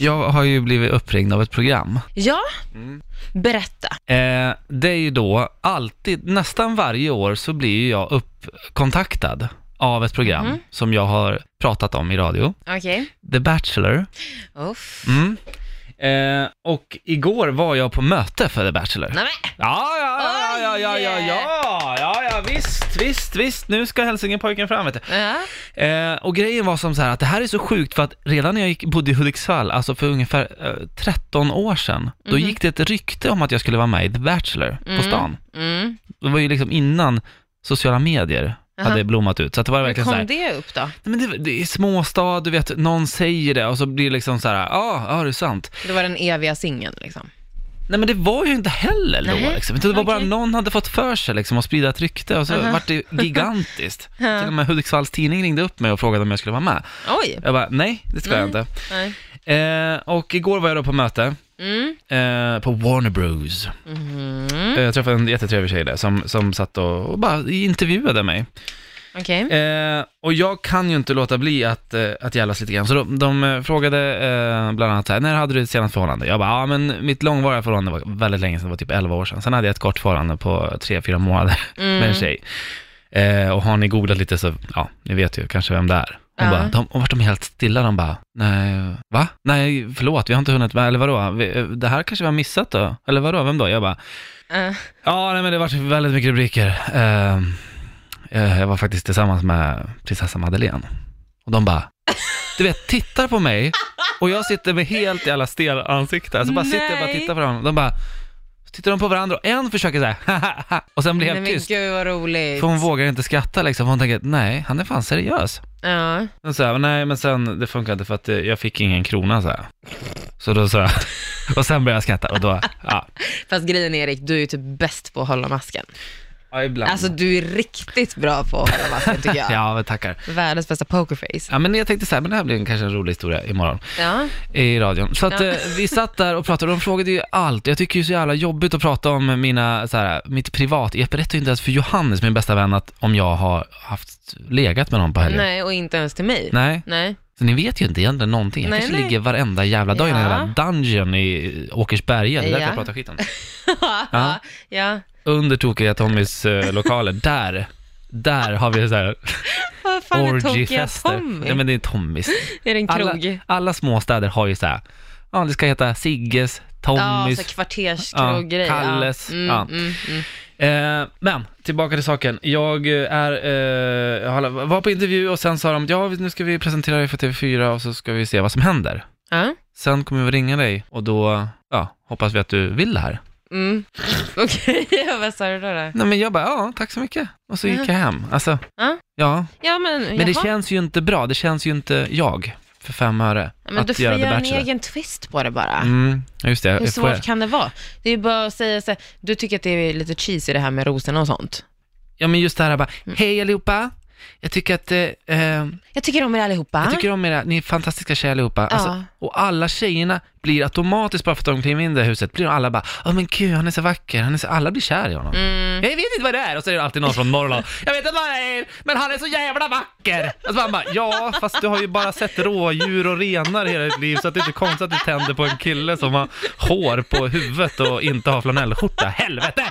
Jag har ju blivit uppringd av ett program. Ja, Mm. berätta. Eh, det är ju då alltid, nästan varje år så blir ju jag uppkontaktad av ett program Mhm. som jag har pratat om i radio. Okej. The Bachelor. Uff. Mm. Eh, och igår var jag på möte för The Bachelor. Nej, men. Ja, ja, ja, ja, ja, ja, Oj! ja, ja, ja, visst, visst, visst, nu ska hälsingepojken fram vet du. Ja. Eh, och grejen var som så här att det här är så sjukt för att redan när jag gick, bodde i Hudiksvall, alltså för ungefär eh, 13 år sedan, Mhm. då gick det ett rykte om att jag skulle vara med i The Bachelor Mm. på stan. Mm. Det var ju liksom innan sociala medier Aha. hade blommat ut. Så att det var Hur verkligen så här, kom det upp då? nej, men det, det är småstad, du vet, någon säger det och så blir det liksom så här, ja, ah, ja, det är sant. Det var den eviga singeln liksom. Nej men det var ju inte heller då Nej, liksom. Utan det var bara okej. någon hade fått för sig liksom att sprida ett rykte och så Aha. vart det gigantiskt. Ja. Till och med Hudiksvalls tidning ringde upp mig och frågade om jag skulle vara med. Oj. Jag bara, nej det ska jag Nej. inte. Eh, och igår var jag då på möte Mm. eh, på Warner Bros. Mhm. Eh, jag träffade en jättetrevlig tjej där som, som satt och, och bara intervjuade mig. Okej. Eh, och jag kan ju inte låta bli att, eh, att jävlas lite grann. Så de, de eh, frågade eh, bland annat så här, när hade du ditt senaste förhållande? Jag bara, ja men mitt långvariga förhållande var väldigt länge sedan, det var typ 11 år sedan. Sen hade jag ett kort förhållande på 3-4 månader Mm. med en tjej. Eh, och har ni googlat lite så, ja, ni vet ju kanske vem det är. Hon Ja. bara, de, och vart de helt stilla, de bara, nej, va? Nej, förlåt, vi har inte hunnit, med, eller vadå? Vi, eh, det här kanske vi har missat då? Eller vadå, vem då? Jag bara, Eh, Ja, nej, men det har varit väldigt mycket rubriker. Ehm, eh, jag var faktiskt tillsammans med prinsessa Madeleine. Och de bara, du vet, tittar på mig och jag sitter med helt jävla stel ansikte. Alltså bara sitter och bara Nej. tittar på dem. De bara, så tittar de på varandra och en försöker så här, "Hahaha", och sen blir Nej, helt men tyst. gud vad roligt. För hon vågar inte skratta liksom, för hon tänker, nej, han är fan seriös. Ja. Hon sa, jag, nej men sen, det funkade för att eh, jag fick ingen krona så här. Så då sa jag, och sen började jag skratta och då, ja. Fast grejen är, Erik, du är ju typ bäst på att hålla masken. ja ibland. Alltså du är riktigt bra på att hålla masken tycker jag. ja, men tackar. Världens bästa pokerface. Ja men jag tänkte så här, men det här blir en- kanske en rolig historia imorgon Ja. i radion. Så att Ja. eh, vi satt där och pratade och de frågade ju allt. Jag tycker ju så jävla jobbigt att prata om mina, så här, mitt privat. Jag berättar ju inte ens för Johannes, min bästa vän, att om jag har haft legat med någon på helgen. Nej, och inte ens till mig. Nej. Nej. Så ni vet ju inte egentligen någonting. Jag Nej, kanske nej. ligger varenda jävla dag i den Ja. jävla dungeon i Åkersberga. Det är därför Ja. jag pratar skit om det. Ja. ja. ja. Under tokiga Tommys eh, lokaler, där, där har vi så här Vad fan är tokiga orgiefester. Tommy? Nej men det är Tommys. Är det en alla, krog? alla småstäder har ju så här, ja det ska heta Sigges, Ja, så Tommys, kvarterskrog-grej. Ja, Kalles, Mm, ja. Mm, mm. eh, eh, men tillbaka till saken, jag eh, är, eh, jag håller- var på intervju och sen sa de, ja nu ska vi presentera dig för TV4 och så ska vi se vad som händer. Ja. Sen kommer vi ringa dig och då, ja, hoppas vi att du vill det här. Mm. Okej, vad sa du då? då? Nej men jag bara, ja tack så mycket. Och så gick jag hem, alltså, Ja. ja. Ja, men, jaha. Men det känns ju inte bra, det känns ju inte jag för fem öre Ja, men du att får göra göra The en Bachelor. egen twist på det bara. Mm, ja, just det. Hur Jag får- svårt kan det vara? Det är ju bara att säga så här, du tycker att det är lite cheesy det här med rosorna och sånt. Ja men just det här bara, Mm. hej allihopa, jag tycker att, eh, eh, Jag tycker om er allihopa. jag tycker om era, ni är fantastiska tjejer allihopa. Alltså, Ah. Ja. och alla tjejerna blir automatiskt, bara för att de kliver in i det här huset, blir de alla bara, åh men gud han är så vacker, han är så, alla blir kär i honom. Mm. Jag vet inte vad det är, och så är det alltid någon från Norrland, jag vet inte vad det är, men han är så jävla vacker! Och så man bara, ja fast du har ju bara sett rådjur och renar hela ditt liv, så att det är inte konstigt att du tänder på en kille som har hår på huvudet och inte har flanellskjorta, helvete!